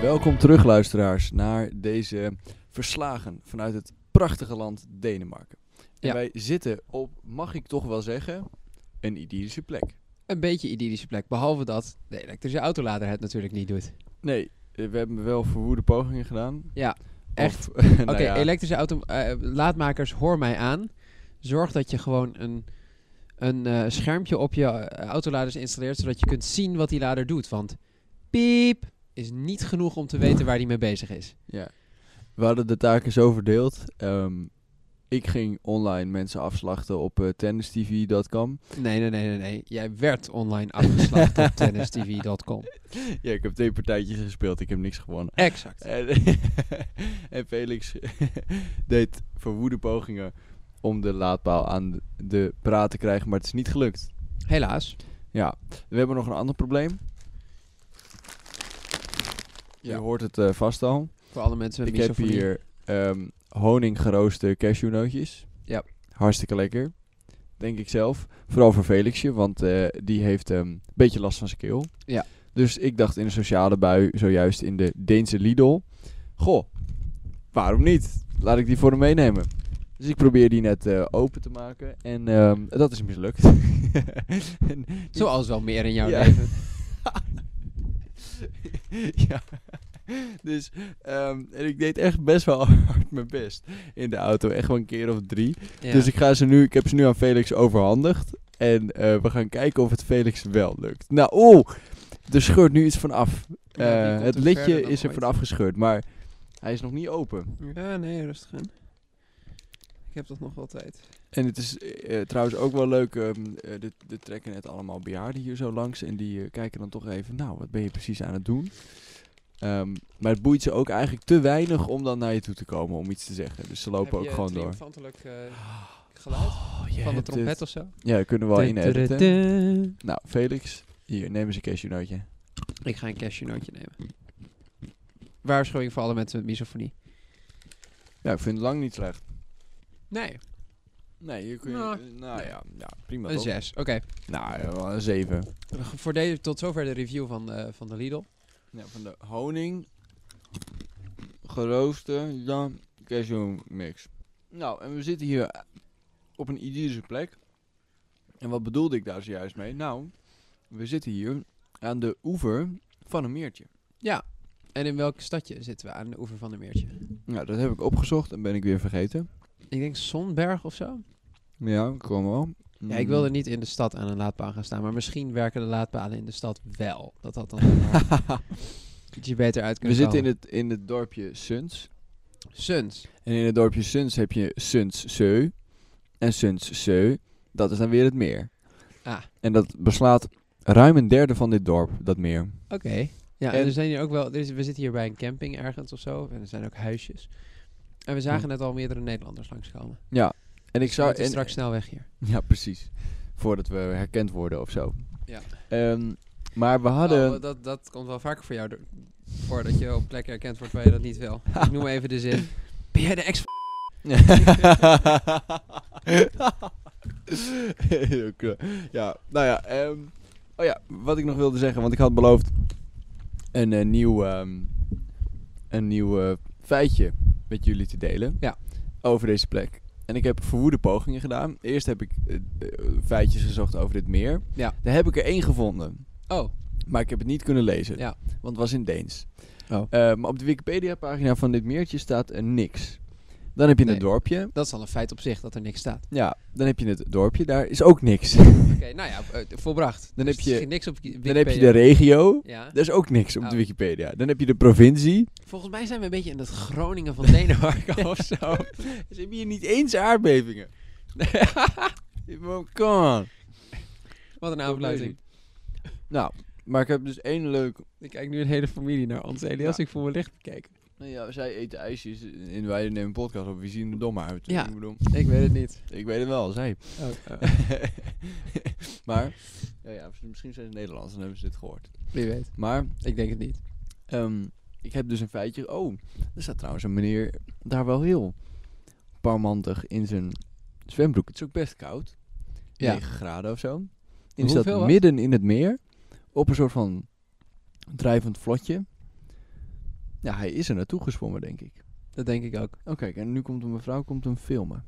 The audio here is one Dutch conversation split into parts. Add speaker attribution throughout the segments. Speaker 1: Welkom terug, luisteraars, naar deze verslagen vanuit het prachtige land Denemarken. En
Speaker 2: Ja.
Speaker 1: wij zitten op, mag ik toch wel zeggen, een idyllische plek.
Speaker 2: Een beetje idyllische plek. Behalve dat de elektrische autolader het natuurlijk niet doet.
Speaker 1: Nee, eh, we hebben wel verwoede pogingen gedaan.
Speaker 2: Ja,
Speaker 1: Of,
Speaker 2: echt.
Speaker 1: nou
Speaker 2: Oké,
Speaker 1: ja,
Speaker 2: elektrische auto eh, laadmakers, hoor mij aan. Zorg dat je gewoon een, een eh, schermpje op je eh, autoladers installeert, zodat je kunt zien wat die lader doet. Want piep is niet genoeg om te weten waar die mee bezig is.
Speaker 1: ja. We hadden de taken zo verdeeld. Ehm, ik ging online mensen afslachten op eh, tennistv.com.
Speaker 2: Nee, nee, nee, nee, nee. Jij werd online afgeslacht op tennistv.com.
Speaker 1: Ja, ik heb twee partijtjes gespeeld. Ik heb niks gewonnen.
Speaker 2: Exact.
Speaker 1: En, en Felix deed verwoede pogingen om de laadpaal aan de praat te krijgen, maar het is niet gelukt.
Speaker 2: Helaas.
Speaker 1: Ja, we hebben nog een ander probleem. Je
Speaker 2: Ja.
Speaker 1: hoort het eh, vast al.
Speaker 2: Voor alle mensen met
Speaker 1: Ik heb
Speaker 2: misofonie.
Speaker 1: hier ehm honing gerooste cashewnootjes.
Speaker 2: Ja.
Speaker 1: Hartstikke lekker. Denk ik zelf. Vooral voor Felixje, want eh, die heeft ehm, een beetje last van zijn keel.
Speaker 2: Ja.
Speaker 1: Dus ik dacht in een sociale bui, zojuist in de Deense Lidl. Goh, waarom niet? Laat ik die voor hem meenemen. Dus ik probeer die net eh, open te maken en ehm, dat is mislukt. En die-
Speaker 2: Zoals wel meer in jouw
Speaker 1: Ja.
Speaker 2: leven.
Speaker 1: ja. Dus ehm, en ik deed echt best wel hard mijn best in de auto. Echt wel een keer of drie.
Speaker 2: Ja.
Speaker 1: Dus ik, ga ze nu, ik heb ze nu aan Felix overhandigd. En eh, we gaan kijken of het Felix wel lukt. Nou, oh, er scheurt nu iets van af.
Speaker 2: Ja, die
Speaker 1: Eh,
Speaker 2: komt
Speaker 1: het
Speaker 2: er
Speaker 1: lidje
Speaker 2: verder dan
Speaker 1: is er
Speaker 2: ooit.
Speaker 1: van afgescheurd, maar hij is nog niet open.
Speaker 2: Ja, nee, rustig aan. Ik heb toch nog wel tijd.
Speaker 1: En het is eh, trouwens ook wel leuk, ehm eh, dit- dit trekken net allemaal bejaarden hier zo langs. En die eh, kijken dan toch even, nou, wat ben je precies aan het doen? Ehm, maar het boeit ze ook eigenlijk te weinig om dan naar je toe te komen om iets te zeggen. Dus ze lopen ook gewoon door.
Speaker 2: eh, geluid
Speaker 1: Oh, je
Speaker 2: van de
Speaker 1: hebt
Speaker 2: trompet
Speaker 1: het.
Speaker 2: of zo?
Speaker 1: Ja, dat kunnen we wel in editen. Nou, Felix, hier, neem eens een cashewnootje.
Speaker 2: Ik ga een cashewnootje nemen. Waarschuwing voor alle mensen met misofonie.
Speaker 1: Ja, ik vind het lang niet slecht.
Speaker 2: Nee,
Speaker 1: Nee, hier kun je...
Speaker 2: Nou,
Speaker 1: Nou, ja, ja, prima
Speaker 2: een
Speaker 1: toch?
Speaker 2: 6. Oké,
Speaker 1: Nou, ja, wel een zeven.
Speaker 2: voor deze tot zover de review van, eh, van de Lidl.
Speaker 1: Ja, van de honing, gerooster, ja, cashew mix. Nou, en we zitten hier op een idyllische plek. En wat bedoelde ik daar zojuist mee? Nou, we zitten hier aan de oever van een meertje.
Speaker 2: Ja, en in welk stadje zitten we aan de oever van de Meertje?
Speaker 1: Nou, dat heb ik opgezocht en ben ik weer vergeten.
Speaker 2: Ik denk Sonberg of zo?
Speaker 1: Ja, kom wel.
Speaker 2: Ja, ik
Speaker 1: Mm.
Speaker 2: wilde niet in de stad aan een laadpaal gaan staan, maar misschien werken de laadpalen in de stad wel. Dat had dan ietsje beter uit
Speaker 1: We
Speaker 2: kunnen
Speaker 1: zitten in het, in het dorpje Suns.
Speaker 2: het Suns.
Speaker 1: En in het dorpje Suns heb je Sunszeu. En Sunszeu, dat is dan weer het meer.
Speaker 2: Ah.
Speaker 1: En dat beslaat ruim een derde van dit dorp, dat meer.
Speaker 2: Oké. Ja, en,
Speaker 1: En-
Speaker 2: er zijn hier ook wel. Er is, we zitten hier bij een camping ergens of zo. En er zijn ook huisjes. En we zagen
Speaker 1: Hm.
Speaker 2: net al meerdere Nederlanders langskomen.
Speaker 1: Ja, en ik
Speaker 2: Zou,
Speaker 1: zou...
Speaker 2: het is
Speaker 1: en-
Speaker 2: straks snel weg hier.
Speaker 1: Ja, precies. Voordat we herkend worden of zo.
Speaker 2: Ja.
Speaker 1: Ehm, maar we hadden...
Speaker 2: Oh, dat, dat komt wel vaker voor jou door- voor dat je op plekken herkend wordt waar je dat niet wil. Ik noem even de zin. Ben jij de ex?
Speaker 1: Heel knap. ja, nou ja. ehm, oh ja, wat ik nog wilde zeggen, want ik had beloofd een eh, nieuw, ehm, een nieuw eh, feitje met jullie te delen.
Speaker 2: Ja.
Speaker 1: Over deze plek. En ik heb verwoede pogingen gedaan. Eerst heb ik eh, eh, feitjes gezocht over dit meer.
Speaker 2: Ja.
Speaker 1: Daar heb ik er één gevonden.
Speaker 2: Oh,
Speaker 1: Maar ik heb het niet kunnen lezen.
Speaker 2: Ja.
Speaker 1: Want het was in Deens.
Speaker 2: Oh.
Speaker 1: Eh, maar op de Wikipedia-pagina van dit meertje staat eh, niks. Dan heb je
Speaker 2: Nee.
Speaker 1: een dorpje.
Speaker 2: dat is al een feit op zich dat er niks staat.
Speaker 1: Ja, dan heb je het dorpje, daar is ook niks.
Speaker 2: Oké, nou ja, eh, volbracht.
Speaker 1: Dan
Speaker 2: Dus
Speaker 1: heb je-
Speaker 2: er ging niks op Wikipedia.
Speaker 1: Dan heb je de regio,
Speaker 2: Ja.
Speaker 1: daar is ook niks op
Speaker 2: Oh.
Speaker 1: de Wikipedia. Dan heb je de provincie.
Speaker 2: Volgens mij zijn we een beetje in het Groningen van Denemarken of zo.
Speaker 1: Ze hebben hier niet eens aardbevingen. Come on.
Speaker 2: Wat een aanfluiting.
Speaker 1: Nou, maar ik heb dus één leuk...
Speaker 2: Ik kijk nu een hele familie naar ons, Elias.
Speaker 1: Ja.
Speaker 2: Ik voel me licht bekeken.
Speaker 1: Nou ja, zij eten ijsjes en wij nemen een podcast op. Wie zien er dom uit?
Speaker 2: Ja.
Speaker 1: Ik bedoel,
Speaker 2: Ik weet het niet.
Speaker 1: ik weet het wel, zij.
Speaker 2: Oh,
Speaker 1: maar, ja, ja, misschien zijn ze Nederlands en hebben ze dit gehoord.
Speaker 2: Wie weet.
Speaker 1: Maar
Speaker 2: Ik denk het niet.
Speaker 1: Ehm, ik heb dus een feitje. Oh, er staat trouwens een meneer daar wel heel parmantig in zijn zwembroek. Het is ook best koud.
Speaker 2: Ja.
Speaker 1: 9 graden of zo. En die
Speaker 2: Hoeveel
Speaker 1: staat
Speaker 2: was?
Speaker 1: midden in het meer. Op een soort van drijvend vlotje. Ja, hij is er naartoe gesprongen, denk ik.
Speaker 2: Dat denk ik ook.
Speaker 1: Oh, kijk, en nu komt een mevrouw komt hem filmen.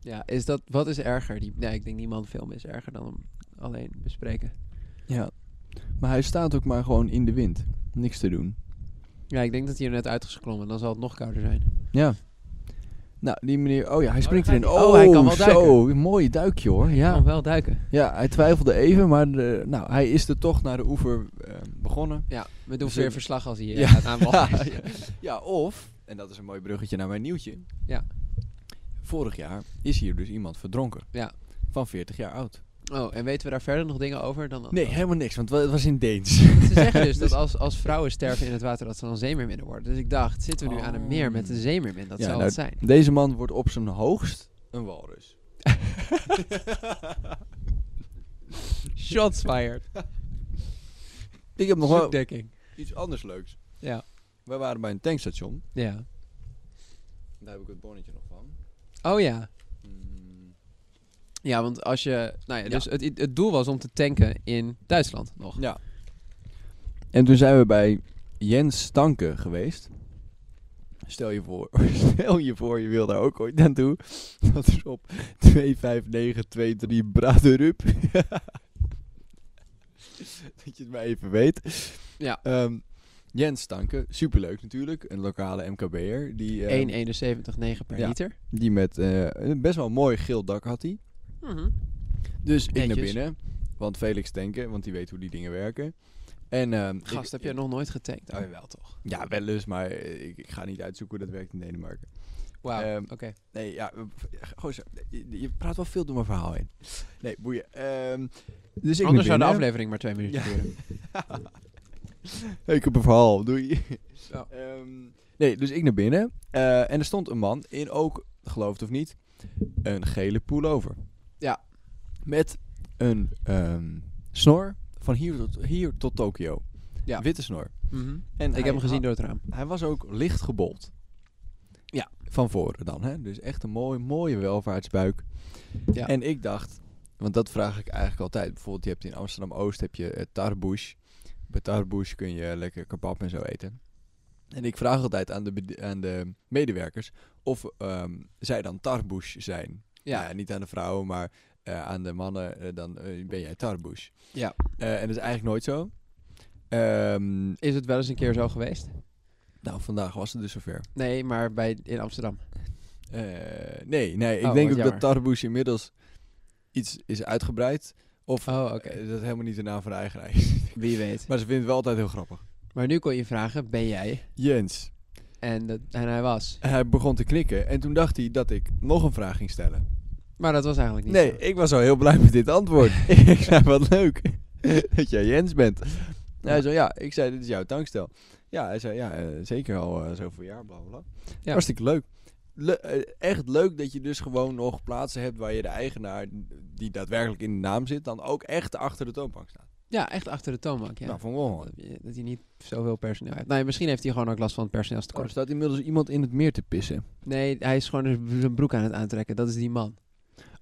Speaker 2: Ja, is dat, wat is erger? Die, nee, ik denk niemand film is erger dan hem alleen bespreken.
Speaker 1: Ja. Maar hij staat ook maar gewoon in de wind. Niks te doen.
Speaker 2: Ja, ik denk dat hij er net uit is geklommen. Dan zal het nog kouder zijn.
Speaker 1: Ja. Nou, die meneer... Oh ja, hij springt
Speaker 2: daar
Speaker 1: erin.
Speaker 2: gaat
Speaker 1: Oh,
Speaker 2: hij. Oh, hij kan wel
Speaker 1: zo. Mooi duikje hoor.
Speaker 2: Ja.
Speaker 1: Ja.
Speaker 2: Kan wel duiken.
Speaker 1: ja, hij twijfelde even, maar de- nou, hij is de tocht naar de oever eh, begonnen.
Speaker 2: Ja, we doen
Speaker 1: Dus
Speaker 2: weer
Speaker 1: een-
Speaker 2: verslag als hij eh,
Speaker 1: Ja.
Speaker 2: gaat aanvallen.
Speaker 1: Ja, ja. Ja, of, en dat is een mooi bruggetje naar mijn nieuwtje.
Speaker 2: Ja.
Speaker 1: Vorig jaar is hier dus iemand verdronken.
Speaker 2: Ja.
Speaker 1: Van 40 jaar oud.
Speaker 2: Oh, en weten we daar verder nog dingen over dan...
Speaker 1: Oh,
Speaker 2: Oh.
Speaker 1: Nee, helemaal niks, want het was in Deens.
Speaker 2: Ze zeggen dus dat als, als vrouwen sterven in het water, dat ze dan zeemeerminnen worden. Dus ik dacht, zitten we nu aan een meer met een
Speaker 1: Oh.
Speaker 2: zeemeermin? Dat
Speaker 1: Ja,
Speaker 2: zou
Speaker 1: nou,
Speaker 2: het zijn.
Speaker 1: Deze man wordt op zijn hoogst een walrus.
Speaker 2: Shots fired.
Speaker 1: Ik heb nog wel
Speaker 2: Zoekdekking.
Speaker 1: iets anders leuks.
Speaker 2: Ja.
Speaker 1: Wij waren bij een tankstation.
Speaker 2: Ja.
Speaker 1: Daar heb ik het bonnetje nog van.
Speaker 2: Oh ja.
Speaker 1: Mm,
Speaker 2: Ja, want als je... Nou ja,
Speaker 1: Ja.
Speaker 2: dus het, het doel was om te tanken in Duitsland nog.
Speaker 1: Ja. En toen zijn we bij Jens Stanke geweest. Stel je voor, stel je voor, je wil daar ook ooit naartoe. Dat is op 25923 Braderup. dat je het maar even weet.
Speaker 2: Ja.
Speaker 1: Ehm, Jens Stanke, superleuk natuurlijk. Een lokale MKB'er. Die, ehm,
Speaker 2: 1,71,9 per
Speaker 1: Ja.
Speaker 2: liter.
Speaker 1: die met eh, een best wel een mooi geel dak had hij.
Speaker 2: Mhm.
Speaker 1: Dus ik naar
Speaker 2: Netjes.
Speaker 1: binnen. Want Felix tanken, want die weet hoe die dingen werken. En, ehm, ik-
Speaker 2: Gast, heb jij nog nooit getankt?
Speaker 1: Oh,
Speaker 2: wel toch?
Speaker 1: Ja, wel eens, maar eh, ik, ik ga niet uitzoeken hoe dat werkt in Denemarken.
Speaker 2: Wauw,
Speaker 1: Ehm,
Speaker 2: oké.
Speaker 1: Nee, ja, eh, gozer, je, je praat wel veel door mijn verhaal heen. Nee, boeien. Ehm, dus ik naar
Speaker 2: Anders zou de
Speaker 1: binnen.
Speaker 2: aflevering maar twee minuten
Speaker 1: Ja.
Speaker 2: duren.
Speaker 1: Hey, ik heb een verhaal, doei.
Speaker 2: Ja.
Speaker 1: Ehm, nee, dus ik naar binnen. eh, en er stond een man in ook, geloof het of niet, een gele pullover.
Speaker 2: Ja.
Speaker 1: Met een ehm, snor van hier tot, hier tot Tokio.
Speaker 2: Ja.
Speaker 1: Witte snor.
Speaker 2: Mhm.
Speaker 1: En
Speaker 2: Ik heb hem gezien door het raam.
Speaker 1: Hij was ook licht gebold.
Speaker 2: Ja.
Speaker 1: Van voren dan, hè? Dus echt een mooi, mooie welvaartsbuik.
Speaker 2: Ja.
Speaker 1: En ik dacht, want dat vraag ik eigenlijk altijd. Bijvoorbeeld, je hebt in Amsterdam-Oost heb je eh, tarboes. Bij tarboes kun je lekker kebab en zo eten. En ik vraag altijd aan de, bed- aan de medewerkers of ehm, zij dan tarboes zijn.
Speaker 2: Ja.
Speaker 1: Nou niet aan de vrouwen, maar eh, aan de mannen eh, dan eh, ben jij tarboes.
Speaker 2: Ja.
Speaker 1: Eh, en dat is eigenlijk nooit zo. Ehm,
Speaker 2: Is het wel eens een keer zo geweest?
Speaker 1: nou, vandaag was het dus zover.
Speaker 2: Nee, maar bij, in Amsterdam.
Speaker 1: Eh, nee, nee, ik
Speaker 2: Oh,
Speaker 1: denk
Speaker 2: wat
Speaker 1: ook
Speaker 2: jammer.
Speaker 1: dat Tarboes inmiddels iets is uitgebreid. Of
Speaker 2: Oh, oké.
Speaker 1: eh, dat helemaal niet de naam van de eigenaar is.
Speaker 2: Wie weet.
Speaker 1: maar ze vindt het wel altijd heel grappig.
Speaker 2: Maar nu kon je vragen, ben jij?
Speaker 1: Jens.
Speaker 2: En, dat, en hij was.
Speaker 1: En hij begon te knikken. En toen dacht hij dat ik nog een vraag ging stellen.
Speaker 2: Maar dat was eigenlijk niet
Speaker 1: nee,
Speaker 2: zo.
Speaker 1: ik was al heel blij met dit antwoord. ik zei, wat leuk dat jij Jens bent. En Hij
Speaker 2: Ja.
Speaker 1: zei, ja, ik zei, dit is jouw tankstel. Ja, hij zei, ja, eh, zeker al eh, zoveel jaar, bla bla bla.
Speaker 2: Ja.
Speaker 1: Hartstikke leuk. Le- eh, echt leuk dat je dus gewoon nog plaatsen hebt waar je de eigenaar, die daadwerkelijk in de naam zit, dan ook echt achter de toonbank staat.
Speaker 2: Ja, echt achter de toonbank, ja.
Speaker 1: Nou, van wel.
Speaker 2: dat, je- dat hij niet zoveel personeel heeft. Nee, misschien heeft hij gewoon ook last van het
Speaker 1: Oh, er
Speaker 2: personeelstekort.
Speaker 1: staat inmiddels iemand in het meer te pissen.
Speaker 2: Nee, hij is gewoon z- zijn broek aan het aantrekken. Dat is die man.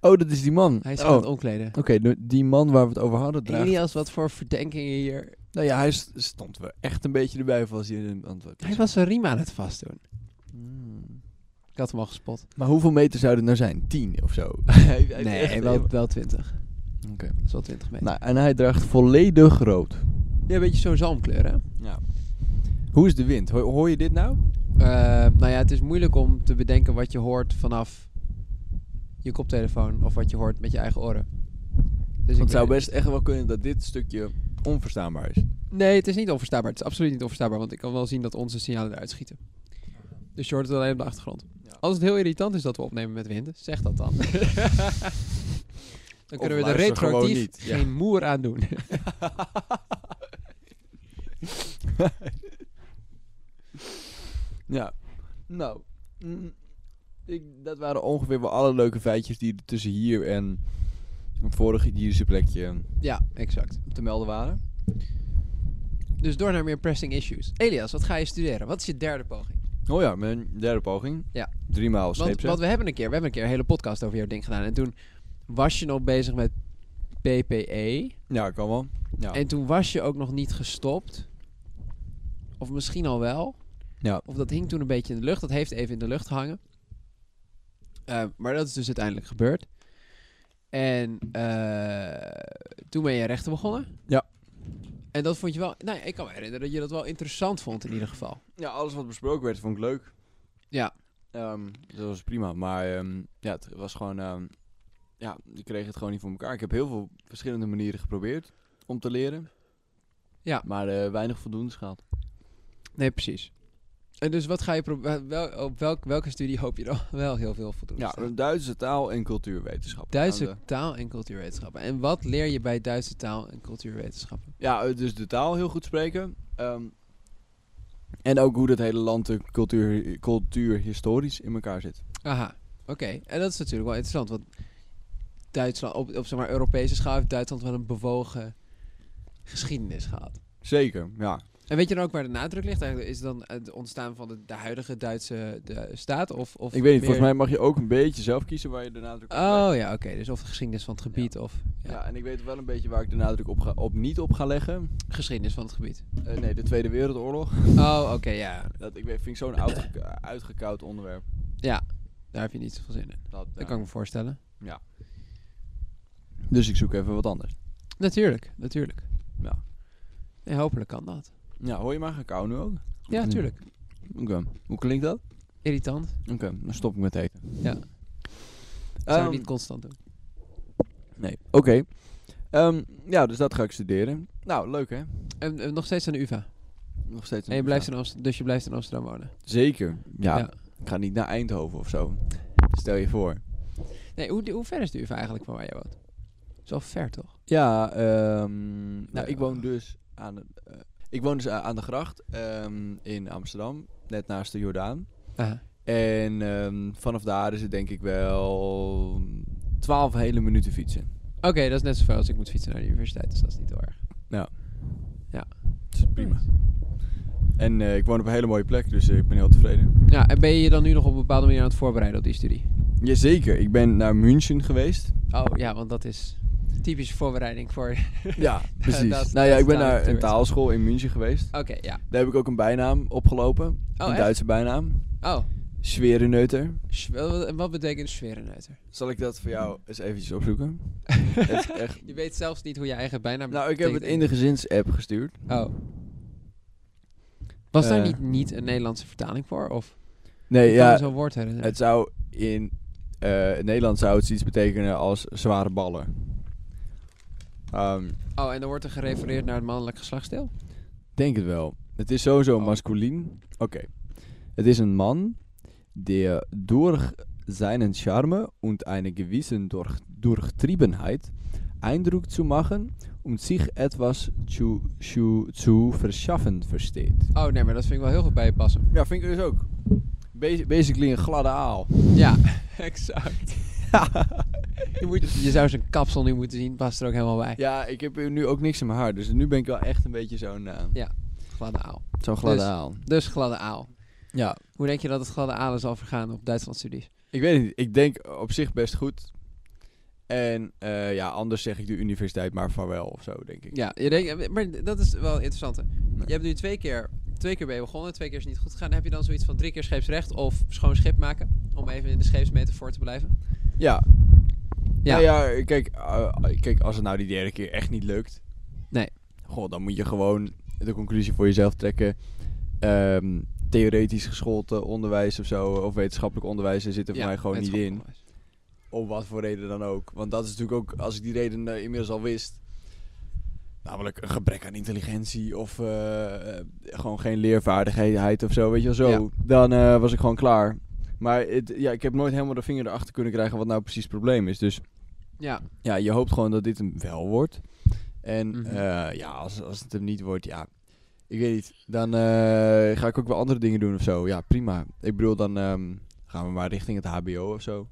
Speaker 1: Oh, dat is die man.
Speaker 2: Hij is
Speaker 1: oh.
Speaker 2: aan het
Speaker 1: Oké,
Speaker 2: omkleden.
Speaker 1: de- die man waar we het over hadden draagt...
Speaker 2: Elias, wat voor verdenkingen hier.
Speaker 1: Nou ja, hij st- stond wel echt een beetje erbij van als hij een antwoord
Speaker 2: Hij was zijn riem aan het vastdoen.
Speaker 1: Hmm.
Speaker 2: Ik had hem al gespot.
Speaker 1: Maar hoeveel meter zou het nou zijn? Tien of zo? Hij- hij-
Speaker 2: Nee,
Speaker 1: echt-
Speaker 2: wel, wel 20.
Speaker 1: Oké.
Speaker 2: Dat is wel 20 meter.
Speaker 1: Nou, en hij draagt volledig rood.
Speaker 2: Ja, een beetje zo'n zalmkleur, hè?
Speaker 1: Ja. Hoe is de wind? Hoor, hoor je dit nou?
Speaker 2: Eh, nou ja, het is moeilijk om te bedenken wat je hoort vanaf je koptelefoon of wat je hoort met je eigen oren. Dus
Speaker 1: Want
Speaker 2: ik
Speaker 1: het zou
Speaker 2: weet-
Speaker 1: best echt wel kunnen dat dit stukje onverstaanbaar is.
Speaker 2: Nee, het is niet onverstaanbaar. Het is absoluut niet onverstaanbaar, want ik kan wel zien dat onze signalen eruit schieten. Dus je hoort het alleen op de achtergrond.
Speaker 1: Ja.
Speaker 2: Als het heel irritant is dat we opnemen met wind, zeg dat dan. dan kunnen we er
Speaker 1: luister gewoon
Speaker 2: retroactief
Speaker 1: niet, ja.
Speaker 2: geen moer aan doen.
Speaker 1: ja. Nou, mm, ik, dat waren ongeveer wel alle leuke feitjes die er tussen hier en een vorige Ierse plekje eh,
Speaker 2: ja, exact.
Speaker 1: te melden waren.
Speaker 2: Dus door naar meer pressing issues. Elias, wat ga je studeren? Wat is je derde poging?
Speaker 1: Oh ja, mijn derde poging.
Speaker 2: Ja.
Speaker 1: Drie maal
Speaker 2: Want,
Speaker 1: sneepsen.
Speaker 2: want we hebben een keer, we hebben een keer een hele podcast over jouw ding gedaan. En toen was je nog bezig met E. PPE.
Speaker 1: Ja, kan wel. Ja.
Speaker 2: En toen was je ook nog niet gestopt. Of misschien al wel.
Speaker 1: Ja.
Speaker 2: Of dat hing toen een beetje in de lucht. Dat heeft even in de lucht gehangen. Eh, maar dat is dus uiteindelijk gebeurd. En eh, toen ben je rechten begonnen.
Speaker 1: Ja.
Speaker 2: En dat vond je wel... Nou, ja, ik kan me herinneren dat je dat wel interessant vond in ieder geval.
Speaker 1: Ja, alles wat besproken werd vond ik leuk.
Speaker 2: Ja.
Speaker 1: Ehm, dat was prima, maar ehm, ja, het was gewoon, ehm, ja, ik kreeg het gewoon niet voor elkaar. Ik heb heel veel verschillende manieren geprobeerd om te leren.
Speaker 2: Ja.
Speaker 1: Maar eh, weinig voldoendes gehad.
Speaker 2: Nee, precies. En dus wat ga je pro- wel- wel, op welk, welke studie hoop je dan wel heel veel voldoende?
Speaker 1: Ja,
Speaker 2: te staan?
Speaker 1: Duitse taal en cultuurwetenschap.
Speaker 2: Duitse
Speaker 1: Aan de-
Speaker 2: taal en cultuurwetenschappen. En wat leer je bij Duitse taal en cultuurwetenschappen?
Speaker 1: Ja, eh, dus de taal heel goed spreken. ehm, en ook hoe dat hele land eh, cultuur, cultuurhistorisch in elkaar zit.
Speaker 2: Aha, oké. En dat is natuurlijk wel interessant, want Duitsland, op, op zeg maar Europese schaal heeft Duitsland wel een bewogen geschiedenis gehad.
Speaker 1: Zeker, ja.
Speaker 2: En weet je dan ook waar de nadruk ligt? Eigenlijk is het dan het ontstaan van de, de huidige Duitse de, staat? Of,
Speaker 1: Ik weet
Speaker 2: of
Speaker 1: niet,
Speaker 2: meer-
Speaker 1: volgens mij mag je ook een beetje zelf kiezen waar je de nadruk op legt.
Speaker 2: Oh ja, oké. Dus of de geschiedenis van het gebied of ja,
Speaker 1: Ja, en ik weet wel een beetje waar ik de nadruk op, ga, op niet op ga leggen.
Speaker 2: geschiedenis van het gebied.
Speaker 1: Eh, nee, de Tweede Wereldoorlog.
Speaker 2: Oh, oké, ja.
Speaker 1: Dat ik weet, vind ik zo'n oud- uitgekoud onderwerp.
Speaker 2: Daar heb je niet zoveel zin in.
Speaker 1: Dat,
Speaker 2: Dat
Speaker 1: ja.
Speaker 2: kan ik me voorstellen.
Speaker 1: Dus ik zoek even wat anders.
Speaker 2: Natuurlijk, natuurlijk.
Speaker 1: Ja.
Speaker 2: Nee, hopelijk kan dat.
Speaker 1: Ja, hoor je maar gekauw nu ook?
Speaker 2: Ja,
Speaker 1: Hmm.
Speaker 2: tuurlijk.
Speaker 1: Oké. Hoe klinkt dat?
Speaker 2: Irritant.
Speaker 1: Oké, dan stop ik met eten.
Speaker 2: Ja. Zou
Speaker 1: Ehm,
Speaker 2: je niet constant doen.
Speaker 1: Nee. Oké. Ehm, ja, dus dat ga ik studeren. Nou, leuk hè?
Speaker 2: En, en nog steeds aan de UvA.
Speaker 1: Nog steeds.
Speaker 2: En je blijft in Amst- dus je blijft in Amsterdam wonen.
Speaker 1: Zeker. Ja.
Speaker 2: Ja.
Speaker 1: Ik ga niet naar Eindhoven of zo. Stel je voor.
Speaker 2: Nee, hoe, hoe ver is de UvA eigenlijk van waar jij woont? Dat is wel ver, toch?
Speaker 1: Ja, ehm, nou,
Speaker 2: Ja.
Speaker 1: ik woon dus aan de, eh, ik woon dus a- aan de gracht ehm, in Amsterdam, net naast de Jordaan.
Speaker 2: Aha.
Speaker 1: En ehm, vanaf daar is het denk ik wel 12 hele minuten fietsen.
Speaker 2: Oké, dat is net zoveel als ik moet fietsen naar de universiteit, dus dat is niet heel erg.
Speaker 1: Dat is prima. En eh, ik woon op een hele mooie plek, dus eh, ik ben heel tevreden.
Speaker 2: Ja, en ben je je dan nu nog op een bepaalde manier aan het voorbereiden op die studie?
Speaker 1: Jazeker, ik ben naar München geweest.
Speaker 2: Oh ja, want dat is typische voorbereiding voor. Oké,
Speaker 1: ja, precies.
Speaker 2: Dat-
Speaker 1: nou ja,
Speaker 2: dat
Speaker 1: ik ben
Speaker 2: staat
Speaker 1: naar een
Speaker 2: natuurlijk.
Speaker 1: taalschool in München geweest.
Speaker 2: ja.
Speaker 1: Daar heb ik ook een bijnaam opgelopen.
Speaker 2: Oh,
Speaker 1: een
Speaker 2: echt?
Speaker 1: Duitse bijnaam.
Speaker 2: Oh,
Speaker 1: Schwerenneuter.
Speaker 2: sch- wel- en wat betekent sfereneuter?
Speaker 1: Zal ik dat voor jou eens eventjes opzoeken? Het is echt...
Speaker 2: Je weet zelfs niet hoe je eigen bijnaam.
Speaker 1: Nou, ik heb het in
Speaker 2: betekent.
Speaker 1: de gezins-app gestuurd.
Speaker 2: Oh. Was daar
Speaker 1: Eh.
Speaker 2: niet, niet een Nederlandse vertaling voor? Of
Speaker 1: Nee,
Speaker 2: Ik kan me
Speaker 1: ja,
Speaker 2: zo'n woord herinneren?
Speaker 1: het zou in eh, het Nederlands zou het iets betekenen als zware ballen. Ehm,
Speaker 2: Oh, en er wordt er gerefereerd naar het mannelijk geslachtsdeel?
Speaker 1: denk het wel. Het is sowieso
Speaker 2: Oh.
Speaker 1: masculien. Oké. Het is een man die door zijn charme en een gewisse durch, Durchtriebenheit Eindruck zu machen um zich etwas zu, zu, zu verschaffen versteht.
Speaker 2: Oh, nee, maar dat vind ik wel heel goed bij je passen.
Speaker 1: Ja, vind ik dus ook. Basi- Basically een gladde aal.
Speaker 2: Ja, exact. je, moet, je zou zijn kapsel nu moeten zien, past er ook helemaal bij.
Speaker 1: Ja, ik heb nu ook niks in mijn haar, dus nu ben ik wel echt een beetje zo'n eh,
Speaker 2: Ja. Gladde aal.
Speaker 1: zo'n gladde
Speaker 2: Dus-
Speaker 1: aal.
Speaker 2: Dus gladde aal.
Speaker 1: Ja,
Speaker 2: Hoe denk je dat het gladde aal zal vergaan op Duitslandstudies?
Speaker 1: ik weet het niet. Ik denk op zich best goed. En eh, ja, anders zeg ik de universiteit maar vaarwel of zo, denk ik.
Speaker 2: Ja, je denkt, maar dat is wel interessant. hè?
Speaker 1: Nee.
Speaker 2: Je hebt nu twee keer, twee keer ben je begonnen, twee keer is het niet goed gegaan. Heb je dan zoiets van drie keer scheepsrecht of schoon schip maken? Om even in de scheepsmetafoor te blijven.
Speaker 1: Ja.
Speaker 2: Ja.
Speaker 1: Ja, ja kijk, eh, kijk, als het nou die derde keer echt niet lukt.
Speaker 2: Nee.
Speaker 1: Goh, dan moet je gewoon de conclusie voor jezelf trekken. Ehm, theoretisch geschoold eh, onderwijs of zo, of wetenschappelijk onderwijs, er zit er voor mij gewoon niet in. Om wat voor reden dan ook. Want dat is natuurlijk ook, als ik die reden eh, inmiddels al wist. Namelijk een gebrek aan intelligentie of eh, eh, gewoon geen leervaardigheid of zo, weet je wel zo.
Speaker 2: Ja.
Speaker 1: Dan eh, was ik gewoon klaar. Maar het, ja, ik heb nooit helemaal de vinger erachter kunnen krijgen wat nou precies het probleem is. Dus
Speaker 2: Ja,
Speaker 1: ja, je hoopt gewoon dat dit hem wel wordt. En
Speaker 2: Mhm.
Speaker 1: eh, ja, als, als het hem niet wordt, ja, ik weet niet. Dan eh, ga ik ook wel andere dingen doen of zo. Ja, prima. Ik bedoel, dan ehm, gaan we maar richting het HBO of zo.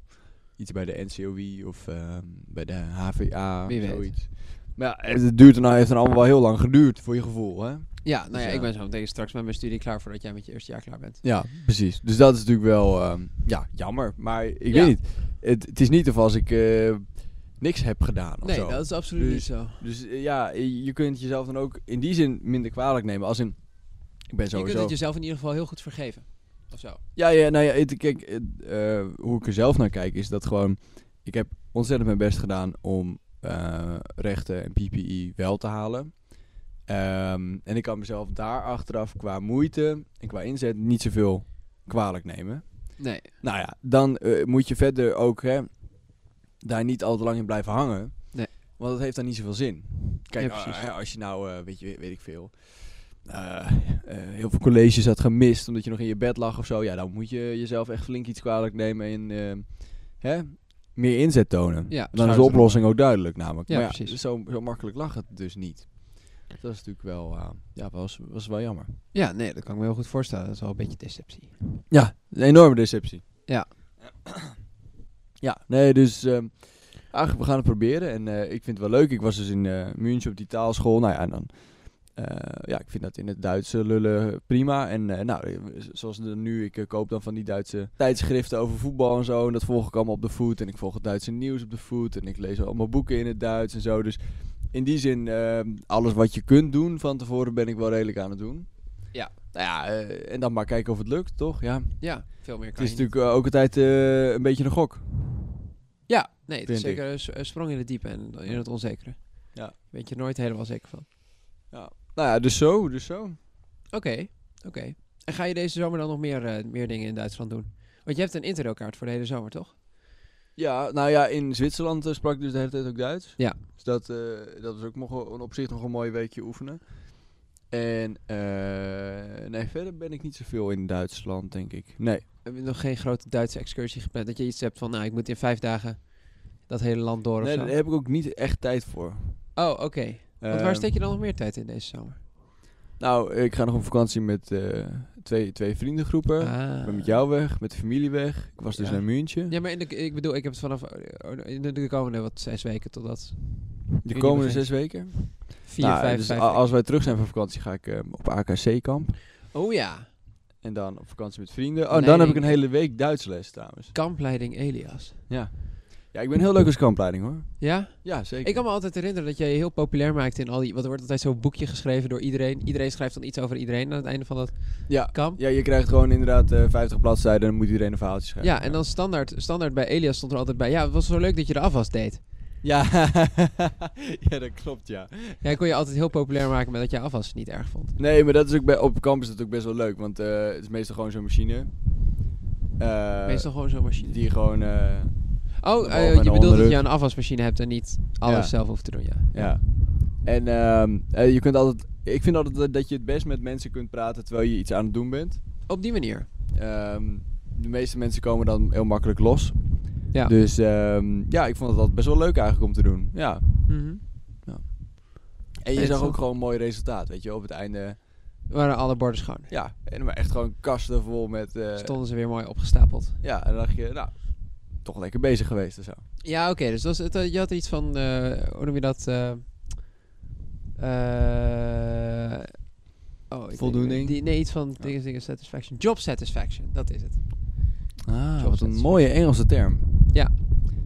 Speaker 1: Iets bij de NCOI of ehm, bij de HVA,
Speaker 2: Wie weet.
Speaker 1: zoiets. Maar ja, het- het duurt er nou, heeft dan allemaal wel heel lang geduurd, voor je gevoel, hè?
Speaker 2: ja nou ja,
Speaker 1: Dus ja.
Speaker 2: ik ben zo meteen straks met mijn studie klaar voordat jij met je eerste jaar klaar bent.
Speaker 1: Ja, precies. Dus dat is natuurlijk wel ehm, ja, jammer. Maar ik
Speaker 2: Ja.
Speaker 1: weet niet. Het, het is niet of als ik eh, niks heb gedaan of
Speaker 2: Nee,
Speaker 1: zo.
Speaker 2: dat is absoluut
Speaker 1: Dus- eh,
Speaker 2: niet zo.
Speaker 1: Dus eh, ja, je je kunt jezelf dan ook in die zin minder kwalijk nemen. Als in, ik Ik ben
Speaker 2: Je
Speaker 1: sowieso...
Speaker 2: kunt het jezelf in ieder geval heel goed vergeven. Of zo.
Speaker 1: Ja, ja, nou ja, het- kijk, het, eh, hoe ik er zelf naar kijk is dat gewoon... Ik heb ontzettend mijn best gedaan om eh, rechten en PPI wel te halen. Ehm, en ik kan mezelf daar achteraf qua moeite en qua inzet niet zoveel kwalijk nemen.
Speaker 2: Nee.
Speaker 1: Nou ja, dan eh, moet je verder ook hè, daar niet al te lang in blijven hangen.
Speaker 2: Nee.
Speaker 1: Want dat heeft dan niet zoveel zin. Kijk,
Speaker 2: Ja, precies.
Speaker 1: eh, als je nou, eh, weet, je, weet ik veel, eh, eh, heel veel colleges had gemist omdat je nog in je bed lag of zo. Ja, dan moet je jezelf echt flink iets kwalijk nemen en eh, hè, meer inzet tonen.
Speaker 2: Ja,
Speaker 1: dan is de
Speaker 2: schouderen.
Speaker 1: oplossing ook duidelijk namelijk.
Speaker 2: Ja,
Speaker 1: maar
Speaker 2: precies.
Speaker 1: Zo, zo makkelijk lag het dus niet. Dat is natuurlijk wel, eh, ja, was, was wel jammer.
Speaker 2: Ja, nee, dat kan ik me heel goed voorstellen. Dat is wel een beetje deceptie.
Speaker 1: Ja, een enorme deceptie.
Speaker 2: Ja.
Speaker 1: Ja, nee, dus ehm, eigenlijk we gaan het proberen. En eh, ik vind het wel leuk. Ik was dus in eh München op die taalschool. Nou ja, en dan... eh, ja, ik vind dat in het Duitse lullen prima. En eh, nou, eh, zoals de- nu, ik eh, koop dan van die Duitse tijdschriften over voetbal en zo. En dat volg ik allemaal op de voet. En ik volg het Duitse nieuws op de voet. En ik lees allemaal boeken in het Duits en zo. Dus in die zin, ehm, alles wat je kunt doen van tevoren ben ik wel redelijk aan het doen.
Speaker 2: Ja.
Speaker 1: Nou ja, eh, en dan maar kijken of het lukt, toch? Ja.
Speaker 2: Ja, veel meer
Speaker 1: Het
Speaker 2: kan
Speaker 1: is
Speaker 2: je niet.
Speaker 1: natuurlijk eh, ook altijd eh, een beetje een gok.
Speaker 2: Ja, nee, het is
Speaker 1: vind ik.
Speaker 2: zeker een s- een sprong in het diepe en in het onzekere.
Speaker 1: Ja.
Speaker 2: Weet je nooit helemaal zeker van.
Speaker 1: Nou ja, dus zo, dus zo.
Speaker 2: Oké, oké. En ga je deze zomer dan nog meer, eh, meer dingen in Duitsland doen? Want je hebt een interrailkaart voor de hele zomer, toch?
Speaker 1: Ja, nou ja, in Zwitserland eh, sprak ik dus de hele tijd ook Duits.
Speaker 2: Ja.
Speaker 1: Dus dat, eh, dat was ook nog wel- op zich nog een mooi weekje oefenen. En eh, nee, verder ben ik niet zoveel in Duitsland, denk ik. Nee.
Speaker 2: Heb je nog geen grote Duitse excursie gepland? Dat je iets hebt van, nou, ik moet in vijf dagen dat hele land door of
Speaker 1: Nee,
Speaker 2: zo?
Speaker 1: daar heb ik ook niet echt tijd voor.
Speaker 2: Oh, oké. Want waar
Speaker 1: Ehm,
Speaker 2: steek je dan nog meer tijd in deze zomer?
Speaker 1: Nou, ik ga nog op vakantie met eh, twee, twee vriendengroepen. Ik
Speaker 2: Ah.
Speaker 1: ben eh, met jou weg, met de familie weg. Ik was dus
Speaker 2: Ja.
Speaker 1: naar München.
Speaker 2: Ja, maar in de, ik bedoel, ik heb het vanaf eh, in de, de komende wat zes weken totdat
Speaker 1: De
Speaker 2: Juni
Speaker 1: komende
Speaker 2: begint.
Speaker 1: zes weken.
Speaker 2: vier,
Speaker 1: Nou,
Speaker 2: vijf,
Speaker 1: dus
Speaker 2: vijf
Speaker 1: a-
Speaker 2: weken.
Speaker 1: als wij terug zijn van vakantie, ga ik eh, op AKC-kamp.
Speaker 2: Oh ja,
Speaker 1: En dan op vakantie met vrienden. Oh,
Speaker 2: Nee,
Speaker 1: en dan heb ik een
Speaker 2: ik-
Speaker 1: hele week Duits les trouwens.
Speaker 2: kampleiding Elias.
Speaker 1: Ja. Ja, ik ben heel leuk als kampleiding hoor.
Speaker 2: Ja?
Speaker 1: Ja, zeker.
Speaker 2: Ik kan me altijd herinneren dat jij je heel populair maakte in al die... Want er wordt altijd zo'n boekje geschreven door iedereen. Iedereen schrijft dan iets over iedereen aan het einde van dat
Speaker 1: Ja.
Speaker 2: kamp.
Speaker 1: Ja, je krijgt gewoon inderdaad eh 50 bladzijden en dan moet iedereen een verhaaltje
Speaker 2: Ja,
Speaker 1: schrijven.
Speaker 2: en dan standaard, standaard bij Elias stond er altijd bij... Ja, het was zo leuk dat je de afwas deed.
Speaker 1: Ja, ja dat klopt ja.
Speaker 2: Jij kon je altijd heel populair maken met dat jij afwas niet erg vond.
Speaker 1: Nee, maar dat is ook bij, op kamp is dat ook best wel leuk, want eh, het is meestal gewoon zo'n machine. Eh,
Speaker 2: Meestal gewoon zo'n machine.
Speaker 1: Die gewoon, eh,
Speaker 2: Oh,
Speaker 1: Boven
Speaker 2: eh,
Speaker 1: en
Speaker 2: je bedoelt dat
Speaker 1: onderrug.
Speaker 2: je een afwasmachine hebt en niet alles
Speaker 1: Ja.
Speaker 2: zelf hoeft te doen, ja.
Speaker 1: ja. En ehm, eh, je kunt altijd, ik vind altijd dat- dat je het best met mensen kunt praten terwijl je iets aan het doen bent.
Speaker 2: Op die manier.
Speaker 1: Ehm, de meeste mensen komen dan heel makkelijk los.
Speaker 2: Ja.
Speaker 1: Dus ehm, ja, ik vond het altijd best wel leuk eigenlijk om te doen. Ja.
Speaker 2: Mhm.
Speaker 1: En je
Speaker 2: Nee,
Speaker 1: zag
Speaker 2: zo.
Speaker 1: ook gewoon een mooi resultaat, weet je, op het einde.
Speaker 2: Waren alle borden schoon.
Speaker 1: Ja, en maar echt gewoon kasten vol met... eh,
Speaker 2: Stonden ze weer mooi opgestapeld.
Speaker 1: Ja, en dan dacht je, nou, toch lekker bezig geweest of zo.
Speaker 2: Ja, oké. dus dat was het, eh, je had iets van, eh, hoe noem je dat? eh, eh, oh, ik
Speaker 1: Voldoening.
Speaker 2: weet- Die, nee, iets van dingen, dingen, satisfaction. Job satisfaction, dat is het.
Speaker 1: Ah,
Speaker 2: Job
Speaker 1: wat een
Speaker 2: satisfaction.
Speaker 1: mooie Engelse term.
Speaker 2: Ja.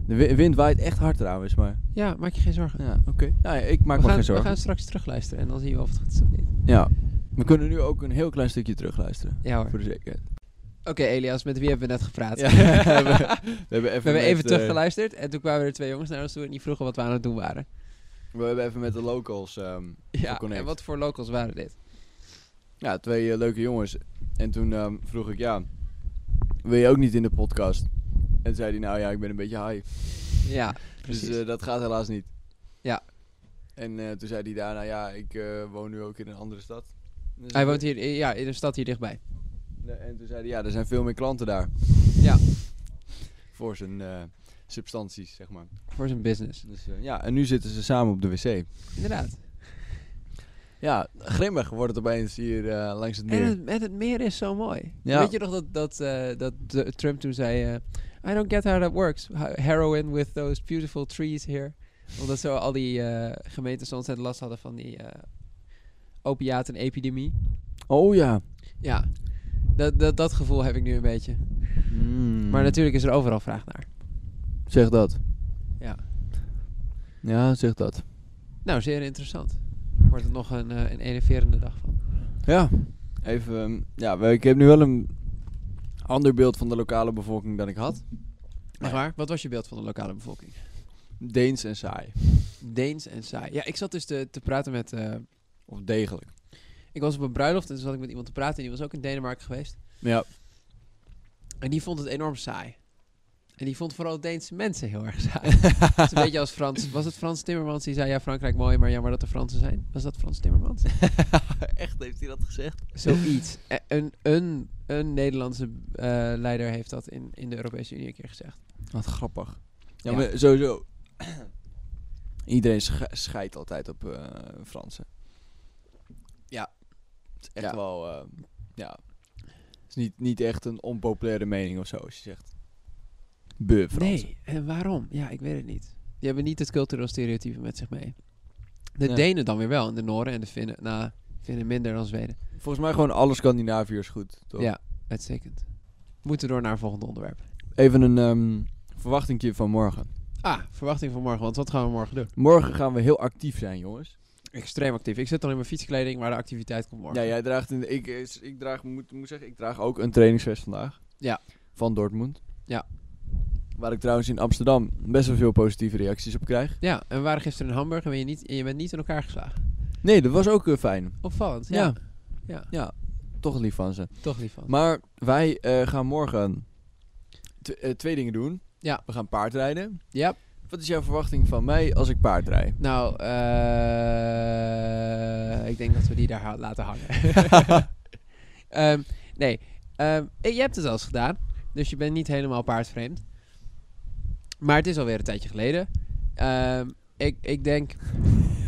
Speaker 1: De wi- wind waait echt hard trouwens, maar...
Speaker 2: Ja, maak je geen zorgen.
Speaker 1: Ja, oké. Nou ja, ik maak
Speaker 2: we,
Speaker 1: me
Speaker 2: gaan,
Speaker 1: geen
Speaker 2: we
Speaker 1: zorgen.
Speaker 2: gaan straks terugluisteren en dan zien we of het goed is of niet.
Speaker 1: Ja. We kunnen nu ook een heel klein stukje terugluisteren.
Speaker 2: Ja hoor.
Speaker 1: Voor
Speaker 2: Oké
Speaker 1: de zekerheid.
Speaker 2: Elias, met wie hebben we net gepraat?
Speaker 1: Ja, we,
Speaker 2: we
Speaker 1: hebben even,
Speaker 2: hebben
Speaker 1: met,
Speaker 2: even
Speaker 1: eh,
Speaker 2: teruggeluisterd en toen kwamen er twee jongens naar ons toe en die vroegen wat we aan het doen waren.
Speaker 1: we hebben even met de locals... ehm,
Speaker 2: Ja,
Speaker 1: Connect.
Speaker 2: en wat voor locals waren dit?
Speaker 1: Ja, twee eh, leuke jongens. En toen ehm, vroeg ik, ja, wil je ook niet in de podcast? En toen zei hij, nou ja, ik ben een beetje high.
Speaker 2: Ja, precies.
Speaker 1: Dus eh, dat gaat helaas niet.
Speaker 2: Ja.
Speaker 1: En eh, toen zei hij daarna, ja, ik eh, woon nu ook in een andere stad. Dus
Speaker 2: Hij
Speaker 1: ik-
Speaker 2: woont hier ja, in een stad hier dichtbij.
Speaker 1: Nee, En toen zei hij, ja, er zijn veel meer klanten daar.
Speaker 2: Ja.
Speaker 1: Voor zijn eh, substanties, zeg maar.
Speaker 2: Voor zijn business.
Speaker 1: Dus eh, ja, en nu zitten ze samen op de wc.
Speaker 2: Inderdaad.
Speaker 1: Ja, grimmig wordt het opeens hier eh, langs het
Speaker 2: En
Speaker 1: meer.
Speaker 2: het, en het meer is zo mooi.
Speaker 1: Ja.
Speaker 2: Weet je nog dat, dat, eh, dat de- Trump toen zei... eh, I don't get how that works. Ho- Heroin with those beautiful trees here. Omdat zo al die eh, gemeenten zo ontzettend last hadden van die eh opiatenepidemie.
Speaker 1: Oh ja.
Speaker 2: Ja, dat, dat, dat gevoel heb ik nu een beetje.
Speaker 1: Mm.
Speaker 2: Maar natuurlijk is er overal vraag naar.
Speaker 1: Zeg dat.
Speaker 2: Ja.
Speaker 1: Ja, zeg dat.
Speaker 2: Nou, zeer interessant. Wordt het nog een, eh, een enerverende dag van.
Speaker 1: Ja. even... ehm, Ja, we- ik heb nu wel een ander beeld van de lokale bevolking dan ik had.
Speaker 2: Echt waar? Wat was je beeld van de lokale bevolking?
Speaker 1: Deens en saai.
Speaker 2: Deens en saai. Ja, ik zat dus te, te praten met... eh,
Speaker 1: Of degelijk.
Speaker 2: ik was op een bruiloft en toen zat ik met iemand te praten. En die was ook in Denemarken geweest.
Speaker 1: Ja.
Speaker 2: En die vond het enorm saai. En die vond vooral Deense mensen heel erg saai. het is een beetje als Frans. Was het Frans Timmermans die zei: Ja, Frankrijk mooi, maar jammer dat er Fransen zijn? Was dat Frans Timmermans?
Speaker 1: Echt, heeft hij dat gezegd?
Speaker 2: Zoiets. E- Een, een, een Nederlandse eh, leider heeft dat in, in de Europese Unie een keer gezegd.
Speaker 1: Wat grappig. Ja,
Speaker 2: Ja.
Speaker 1: maar sowieso... Iedereen sche- scheidt altijd op eh Fransen.
Speaker 2: Ja.
Speaker 1: Het is echt
Speaker 2: Ja.
Speaker 1: wel... eh, ja. Het is niet, niet echt een onpopulaire mening of zo, als je zegt... Beu, Fransen.
Speaker 2: Nee, en waarom? Ja, ik weet het niet. Die hebben niet het cultureel stereotype met zich mee. De
Speaker 1: Nee.
Speaker 2: Denen dan weer wel, en de Noren en de Finnen. Nou, Finnen minder dan Zweden.
Speaker 1: Volgens mij gewoon alle Scandinaviërs goed, toch?
Speaker 2: Ja, uitstekend. We moeten door naar het volgende onderwerp.
Speaker 1: Even een ehm verwachtingje van morgen.
Speaker 2: Ah, verwachting van morgen, want wat gaan we morgen doen?
Speaker 1: Morgen gaan we heel actief zijn, jongens.
Speaker 2: Extreem actief. Ik zit al in mijn fietskleding, maar de activiteit komt morgen.
Speaker 1: Ja, jij draagt een, ik, eh, s- ik draag, moet, moet zeggen, ik draag ook een trainingsvest vandaag.
Speaker 2: Ja.
Speaker 1: Van Dortmund.
Speaker 2: Ja.
Speaker 1: Waar ik trouwens in Amsterdam best wel veel positieve reacties op krijg.
Speaker 2: Ja, en we waren gisteren in Hamburg en ben je, niet, en je bent niet in elkaar geslagen.
Speaker 1: Nee, dat was ook eh, fijn.
Speaker 2: Opvallend, ja.
Speaker 1: Ja. Ja, toch lief van ze.
Speaker 2: Toch lief van.
Speaker 1: Maar wij eh, gaan morgen tw- eh, twee dingen doen.
Speaker 2: Ja.
Speaker 1: We gaan paardrijden.
Speaker 2: ja,
Speaker 1: Wat is jouw verwachting van mij als ik paardrij?
Speaker 2: nou, eh, ik denk dat we die daar ha- laten hangen. Ehm, nee, ehm, eh, je hebt het al eens gedaan, dus je bent niet helemaal paardvreemd. Maar het is alweer een tijdje geleden. Ehm, ik, ik denk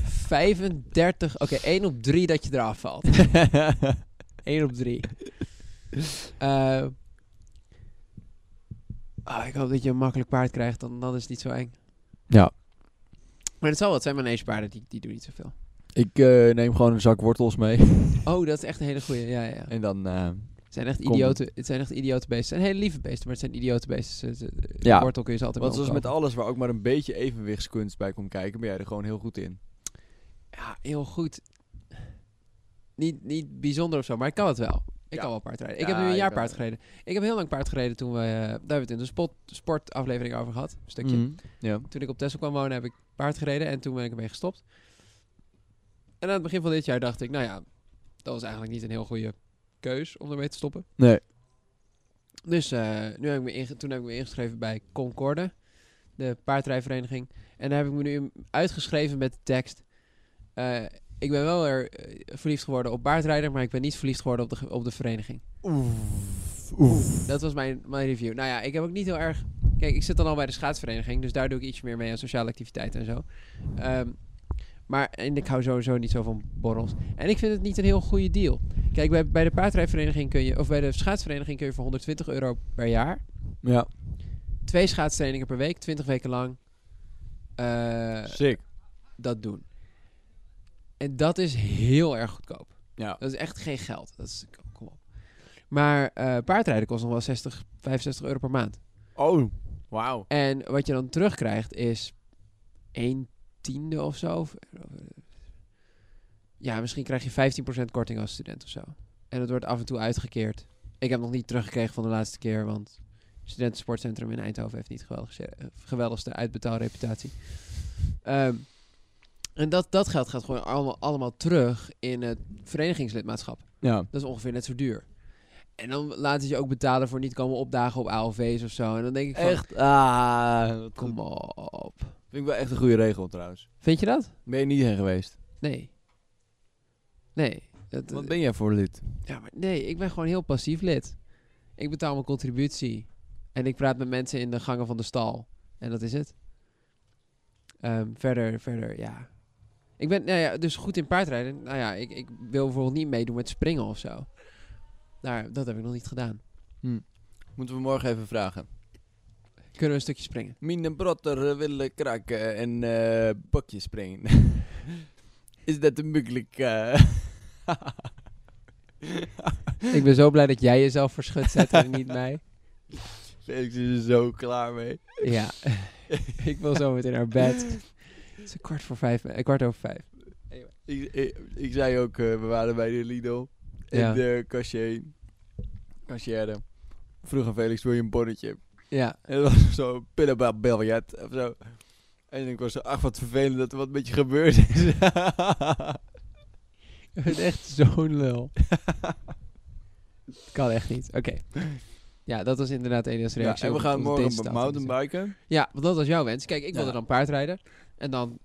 Speaker 2: 35, oké, 1 op 3 dat je eraf valt. 1 op 3. ah, ik hoop dat je een makkelijk paard krijgt, dan, dan is het niet zo eng.
Speaker 1: ja.
Speaker 2: Maar het zal wat zijn, manege paarden die, die doen niet zoveel.
Speaker 1: Ik eh, neem gewoon een zak wortels mee.
Speaker 2: Oh, dat is echt een hele goeie. Ja, ja. ja.
Speaker 1: En dan... eh,
Speaker 2: Het zijn echt
Speaker 1: Kom.
Speaker 2: idiote, het zijn echt idiote beesten. Het zijn hele lieve beesten, maar het zijn idiote beesten. Ze- ze-
Speaker 1: Ja.
Speaker 2: de Wortel kun je ze altijd
Speaker 1: Want
Speaker 2: wel
Speaker 1: zoals met
Speaker 2: omkopen.
Speaker 1: alles waar ook maar een beetje evenwichtskunst bij komt kijken, ben jij er gewoon heel goed in.
Speaker 2: Ja, heel goed. Niet, niet bijzonder of zo, maar ik kan het wel. Ik
Speaker 1: Ja.
Speaker 2: kan wel paardrijden.
Speaker 1: Ja,
Speaker 2: Ik heb nu een
Speaker 1: je
Speaker 2: jaar
Speaker 1: kan
Speaker 2: paard
Speaker 1: het.
Speaker 2: gereden. Ik heb heel lang paard gereden toen we... eh, daar hebben we het in de spot, sportaflevering over gehad. Een stukje.
Speaker 1: Mhm. Ja.
Speaker 2: Toen ik op Texel kwam wonen heb ik paard gereden en toen ben ik ermee gestopt. En aan het begin van dit jaar dacht ik, nou ja, dat was eigenlijk niet een heel goede keus om ermee te stoppen.
Speaker 1: Nee.
Speaker 2: Dus eh, nu heb ik me inge- toen heb ik me ingeschreven bij Concorde, de paardrijvereniging. En daar heb ik me nu uitgeschreven met de tekst. eh, ik ben wel er eh, verliefd geworden op paardrijder, maar ik ben niet verliefd geworden op de, ge- op de vereniging. Dat was mijn, mijn review. Nou ja, ik heb ook niet heel erg. Kijk, ik zit dan al bij de schaatsvereniging, dus daar doe ik iets meer mee aan sociale activiteiten en zo. Ehm, maar en ik hou sowieso niet zo van borrels. En ik vind het niet een heel goede deal. Kijk, bij, bij de paardrijvereniging kun je, of bij de schaatsvereniging kun je voor 120 euro per jaar
Speaker 1: Ja.
Speaker 2: twee schaatstrainingen per week, 20 weken lang, eh,
Speaker 1: Sick.
Speaker 2: dat doen. En dat is heel erg goedkoop.
Speaker 1: Ja.
Speaker 2: Dat is echt geen geld. Dat is, kom op. Maar eh, paardrijden kost nog wel 60, 65 euro per maand.
Speaker 1: Oh, wauw.
Speaker 2: En wat je dan terugkrijgt is 1 tiende of zo. Of- Ja, misschien krijg je 15% korting als student of zo. En het wordt af en toe uitgekeerd. Ik heb nog niet teruggekregen van de laatste keer, want Studentensportcentrum in Eindhoven heeft niet geweldig, se- eh, geweldigste uitbetaalreputatie. Ehm, en dat, dat geld gaat gewoon allemaal, allemaal terug in het verenigingslidmaatschap.
Speaker 1: Ja.
Speaker 2: Dat is ongeveer net zo duur. En dan laten ze je ook betalen voor niet komen opdagen op ALV's of zo. En dan denk ik van,
Speaker 1: Echt? Ah, dat
Speaker 2: Kom op.
Speaker 1: vind ik wel echt een goede regel trouwens.
Speaker 2: Vind je dat?
Speaker 1: Ben je niet heen geweest?
Speaker 2: Nee. Nee. Dat, eh,
Speaker 1: Wat ben jij voor lid?
Speaker 2: ja, maar nee, ik ben gewoon heel passief lid. Ik betaal mijn contributie. En ik praat met mensen in de gangen van de stal. En dat is het. Ehm, verder, verder, ja. Ik ben nou ja, dus goed in paardrijden. Nou ja, ik, ik wil bijvoorbeeld niet meedoen met springen of zo. Daar, dat heb ik nog niet gedaan.
Speaker 1: Moeten we morgen even vragen.
Speaker 2: Kunnen we een stukje springen?
Speaker 1: Mine brotter willen kraken en eh bakje springen. Is dat mogelijk? eh?
Speaker 2: ik ben zo blij dat jij jezelf verschut zet en niet mij.
Speaker 1: Felix is er zo klaar mee.
Speaker 2: Ja, ik wil zo meteen naar bed. Het is een kwart voor vijf, eh, kwart over vijf.
Speaker 1: Ik, ik, ik zei ook, eh, we waren bij de Lido.
Speaker 2: Ja.
Speaker 1: in de cashier. Cashier. Vroeg aan Felix, wil je een bonnetje?
Speaker 2: Ja.
Speaker 1: En dat was zo pinnenbel biljet of zo. En ik was zo, ach wat vervelend dat er wat met je gebeurd is.
Speaker 2: Je bent echt zo'n lul. kan echt niet. Oké. Ja, dat was inderdaad Elias'
Speaker 1: ja,
Speaker 2: reactie.
Speaker 1: en we
Speaker 2: op-
Speaker 1: gaan
Speaker 2: op
Speaker 1: morgen
Speaker 2: dinsdag.
Speaker 1: mountainbiken.
Speaker 2: Ja, want dat was jouw wens. Kijk, ik wilde
Speaker 1: Ja.
Speaker 2: dan paardrijden. En dan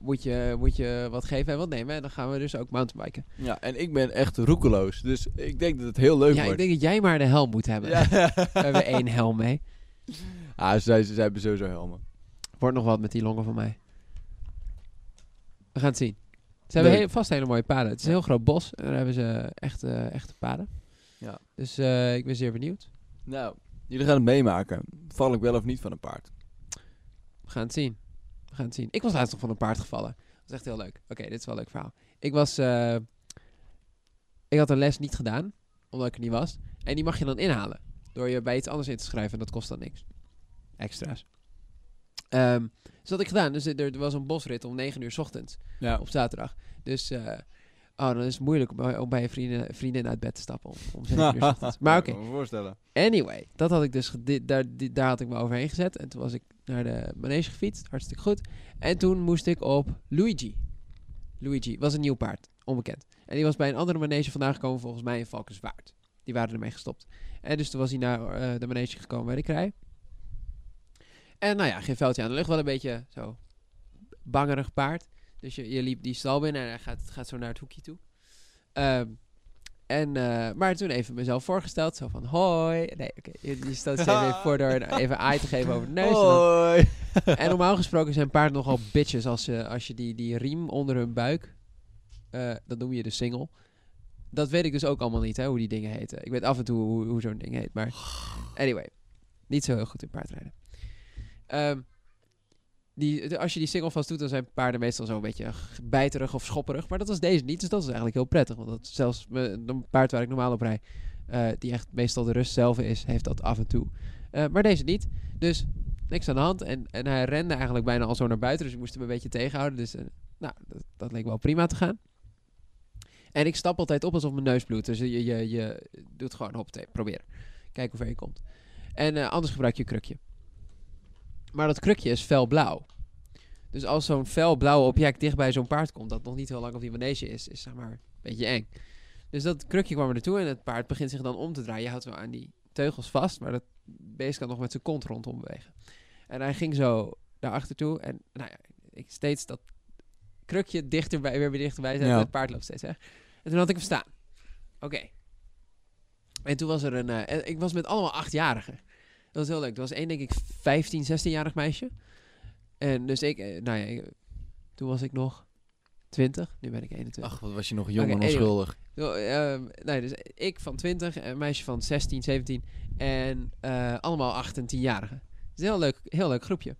Speaker 2: moet je, moet je wat geven en wat nemen. En dan gaan we dus ook mountainbiken.
Speaker 1: Ja, en ik ben echt roekeloos. Dus ik denk dat het heel leuk
Speaker 2: ja, ik
Speaker 1: wordt.
Speaker 2: denk dat jij maar de helm moet hebben.
Speaker 1: ja.
Speaker 2: We hebben één helm mee.
Speaker 1: Ah, zij, zij hebben sowieso helmen.
Speaker 2: Wordt nog wat met die longen van mij. We gaan het zien. Ze hebben
Speaker 1: Leuk.
Speaker 2: heel, vast hele mooie paden. Het is een heel groot bos. En daar hebben ze echt, eh, echte paden.
Speaker 1: Ja.
Speaker 2: Dus eh, ik ben zeer benieuwd.
Speaker 1: Nou, jullie gaan het meemaken. Val ik wel of niet van een paard?
Speaker 2: We gaan het zien. We gaan het zien. Ik was laatst nog van een paard gevallen. Dat is echt heel leuk. Oké, dit is wel een leuk verhaal. Ik was... eh, ik had een les niet gedaan. Omdat ik er niet was. En die mag je dan inhalen. Door je bij iets anders in te schrijven. En dat kost dan niks. Extra's. Ehm, dus dat had ik gedaan. Dus er, er was een bosrit om 9 uur 's ochtends.
Speaker 1: Ja.
Speaker 2: eh, op zaterdag. Dus eh, oh, dan is het moeilijk om, om bij je vrienden, vriendin uit bed te stappen. Om, om zeven uur 's ochtends. Maar oké,
Speaker 1: Ik kan me voorstellen.
Speaker 2: anyway. Dat had ik dus, gedi- daar, di- daar had ik me overheen gezet. En toen was ik naar de manege gefietst. Hartstikke goed. En toen moest ik op Luigi. Luigi was een nieuw paard. Onbekend. En die was bij een andere manege vandaan gekomen. Volgens mij in Valkenswaard. Die waren ermee gestopt. En dus toen was hij naar eh, de manege gekomen waar ik rij. En nou ja, geen veldje aan de lucht. Wel een beetje zo bangerig paard. Dus je, je liep die stal binnen en hij gaat, gaat zo naar het hoekje toe. Ehm, en, eh, maar toen even mezelf voorgesteld. Zo van, hoi. Nee, oké. Je, je stelt ze even voor door een- even aai te geven over de neus. en dan-
Speaker 1: Hoi.
Speaker 2: en normaal gesproken zijn paarden nogal bitches als, ze, als je die, die riem onder hun buik, eh, dat noem je de single. Dat weet ik dus ook allemaal niet, hè, hoe die dingen heten. Ik weet af en toe hoe, hoe zo'n ding heet, maar anyway. Niet zo heel goed in paardrijden. Ehm, die, de- als je die single vast doet, dan zijn paarden meestal zo'n beetje g- bijterig of schopperig. Maar dat was deze niet, dus dat is eigenlijk heel prettig. Want dat zelfs me- een paard waar ik normaal op rij, eh, die echt meestal de rust zelf is, heeft dat af en toe. Eh, maar deze niet. Dus niks aan de hand. En, en hij rende eigenlijk bijna al zo naar buiten. Dus ik moest hem een beetje tegenhouden. Dus eh, nou, dat, dat leek wel prima te gaan. En ik stap altijd op alsof mijn neus bloedt. Dus je, je, je doet gewoon hoppatee, proberen. Kijken hoe ver je komt. En eh, anders gebruik je een krukje. Maar dat krukje is felblauw. Dus als zo'n felblauw object dichtbij zo'n paard komt... dat nog niet heel lang op die manege is, is zeg maar een beetje eng. Dus dat krukje kwam er naartoe en het paard begint zich dan om te draaien. Je houdt wel aan die teugels vast, maar dat beest kan nog met zijn kont rondom bewegen. En hij ging zo naar achter toe. En nou ja, ik steeds dat krukje dichterbij, weer weer dichterbij zetten.
Speaker 1: Ja.
Speaker 2: en Het paard loopt steeds weg. En toen had ik hem staan. Oké. En toen was er een... eh, en ik was met allemaal achtjarigen. Dat was heel leuk. Er was één, denk ik, 15, 16-jarig meisje. En dus ik... eh, Nou ja, ik- toen was ik nog 20. Nu ben ik 21.
Speaker 1: Ach, wat was je nog
Speaker 2: jong
Speaker 1: jong
Speaker 2: en
Speaker 1: en
Speaker 2: anyway.
Speaker 1: onschuldig.
Speaker 2: Yo, ehm, nee, dus ik van 20, een meisje van 16, 17 en eh, allemaal 8 en 10-jarigen. Het is een heel leuk, heel leuk groepje.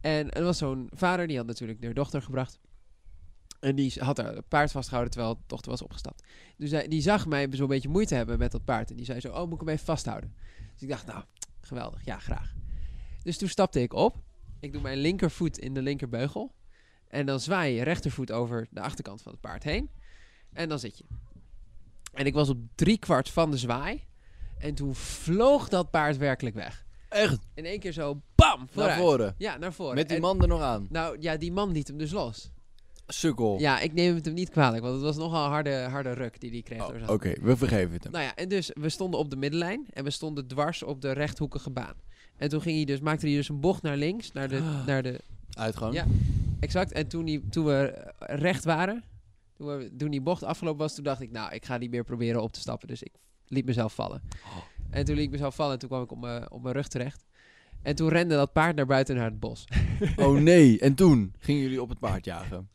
Speaker 2: En er was zo'n vader, die had natuurlijk haar dochter gebracht. En die had haar paard vastgehouden terwijl de dochter was opgestapt. Dus hij, die zag mij zo'n beetje moeite hebben met dat paard. En die zei zo, oh, moet ik hem even vasthouden? Dus ik dacht, nou, geweldig, ja, graag. Dus toen stapte ik op. Ik doe mijn linkervoet in de linkerbeugel. En dan zwaai je rechtervoet over de achterkant van het paard heen. En dan zit je. En ik was op driekwart van de zwaai. En toen vloog dat paard werkelijk weg.
Speaker 1: Echt,
Speaker 2: In één keer zo, bam, vooruit.
Speaker 1: naar voren.
Speaker 2: Ja, naar voren.
Speaker 1: Met die
Speaker 2: En-
Speaker 1: man er nog aan.
Speaker 2: nou ja, die man liet hem dus los.
Speaker 1: Sukkel.
Speaker 2: Ja, ik neem het hem niet kwalijk, want het was nogal een harde, harde ruk die die kreeg.
Speaker 1: Oh,
Speaker 2: door zijn
Speaker 1: Oké, we vergeven het hem.
Speaker 2: nou ja, en dus we stonden op de middenlijn en we stonden dwars op de rechthoekige baan. En toen ging hij dus, maakte hij dus een bocht naar links, naar de, naar de
Speaker 1: Uitgang.
Speaker 2: Ja. exact. En toen, die, toen we eh, recht waren, toen, we, toen die bocht afgelopen was, toen dacht ik, nou, ik ga niet meer proberen op te stappen. Dus ik liet mezelf vallen.
Speaker 1: Oh.
Speaker 2: En toen liet ik mezelf vallen en toen kwam ik op mijn, op mijn rug terecht. En toen rende dat paard naar buiten naar het bos.
Speaker 1: Oh nee, en toen gingen jullie op het paard jagen.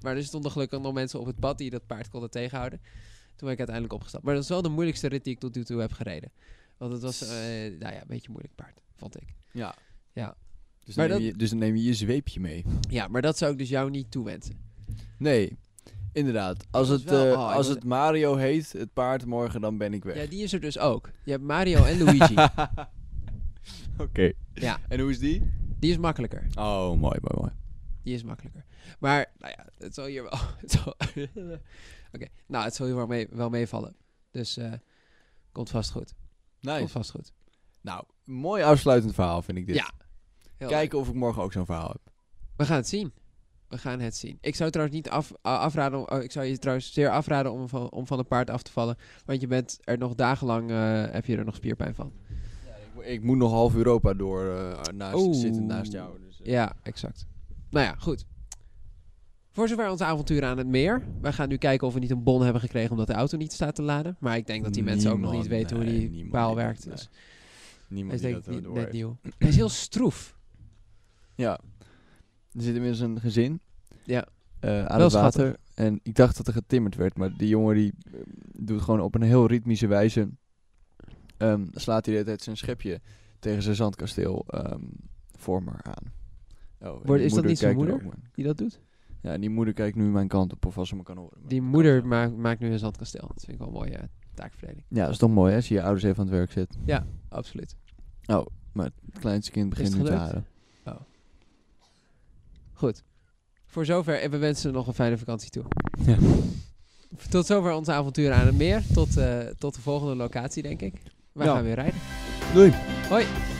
Speaker 2: Maar er stonden gelukkig nog mensen op het pad die dat paard konden tegenhouden. Toen ben ik uiteindelijk opgestapt. Maar dat is wel de moeilijkste rit die ik tot nu toe heb gereden. Want het was, eh, nou ja, een beetje een moeilijk paard, vond ik.
Speaker 1: Ja.
Speaker 2: Ja.
Speaker 1: Dus
Speaker 2: Maar
Speaker 1: dan, neem je, dus dan neem je je zweepje mee.
Speaker 2: Ja, maar dat zou ik dus jou niet toewensen.
Speaker 1: Nee, inderdaad. Als,
Speaker 2: moet
Speaker 1: het,
Speaker 2: wel-
Speaker 1: eh,
Speaker 2: oh, ik
Speaker 1: als
Speaker 2: moet-
Speaker 1: het Mario heet, het paard morgen, dan ben ik weg.
Speaker 2: Ja, die is er dus ook. Je hebt Mario en Luigi.
Speaker 1: Oké.
Speaker 2: Ja.
Speaker 1: En hoe is die?
Speaker 2: Die is makkelijker.
Speaker 1: Oh, mooi, mooi, mooi.
Speaker 2: Die Die is makkelijker. Maar nou ja, het zal hier wel. het zal- Oké, nou, het zal hier wel, mee, wel meevallen. Dus eh, komt vast goed. Komt
Speaker 1: Nice.
Speaker 2: vast goed.
Speaker 1: Nou, mooi afsluitend verhaal vind ik dit.
Speaker 2: Ja, Heel leuk.
Speaker 1: Kijken of ik morgen ook zo'n verhaal heb.
Speaker 2: We gaan het zien. We gaan het zien. Ik zou trouwens niet af, a- afraden. om- oh, ik zou je trouwens zeer afraden om van, om van een paard af te vallen. Want je bent er nog dagenlang. eh, heb je er nog spierpijn van?
Speaker 1: Ik, mo- ik moet nog half Europa door eh, naast,
Speaker 2: Oeh.
Speaker 1: zitten naast jou. Dus, eh.
Speaker 2: Ja, exact. Nou ja, goed. Voor zover ons avontuur aan het meer. Wij gaan nu kijken of we niet een bon hebben gekregen omdat de auto niet staat te laden. Maar ik denk dat die mensen ook nog niet
Speaker 1: Niemand,
Speaker 2: weten hoe
Speaker 1: nee,
Speaker 2: die
Speaker 1: niemand
Speaker 2: paal
Speaker 1: die dat-
Speaker 2: werkt.
Speaker 1: nee.
Speaker 2: Dus hij
Speaker 1: Niemand
Speaker 2: is
Speaker 1: die
Speaker 2: denk
Speaker 1: dat wel
Speaker 2: ik niet,
Speaker 1: door
Speaker 2: net
Speaker 1: heeft.
Speaker 2: nieuw. Hij is heel stroef.
Speaker 1: Ja. Er zit inmiddels een gezin.
Speaker 2: Ja.
Speaker 1: eh, aan
Speaker 2: Wel
Speaker 1: het water.
Speaker 2: schattig.
Speaker 1: En ik dacht dat er getimmerd werd, maar die jongen die eh, doet gewoon op een heel ritmische wijze. ehm, slaat hij de hele tijd zijn schepje tegen zijn zandkasteel ehm, voor me aan. Oh, en die
Speaker 2: is dat
Speaker 1: moeder
Speaker 2: niet zijn
Speaker 1: kijkt er
Speaker 2: moeder?
Speaker 1: ook maar-
Speaker 2: Die dat doet?
Speaker 1: Ja, en die moeder kijkt nu mijn kant op of als ze me kan horen. maar
Speaker 2: Die
Speaker 1: dat kan
Speaker 2: moeder
Speaker 1: ze.
Speaker 2: ma- maakt nu een zandkasteel. Dat vind ik wel een mooie eh, taakverdeling.
Speaker 1: Ja, dat is toch mooi hè, als je je ouders even aan het werk zit.
Speaker 2: Absoluut.
Speaker 1: Het kleinste kind begint
Speaker 2: het
Speaker 1: nu te
Speaker 2: gelukt?
Speaker 1: halen.
Speaker 2: Goed. Voor zover en we wensen nog een fijne vakantie toe.
Speaker 1: Ja.
Speaker 2: Tot zover onze avonturen aan het meer. Tot, eh, tot de volgende locatie, denk ik. Wij
Speaker 1: Ja.
Speaker 2: gaan weer rijden.
Speaker 1: Doei!
Speaker 2: Hoi.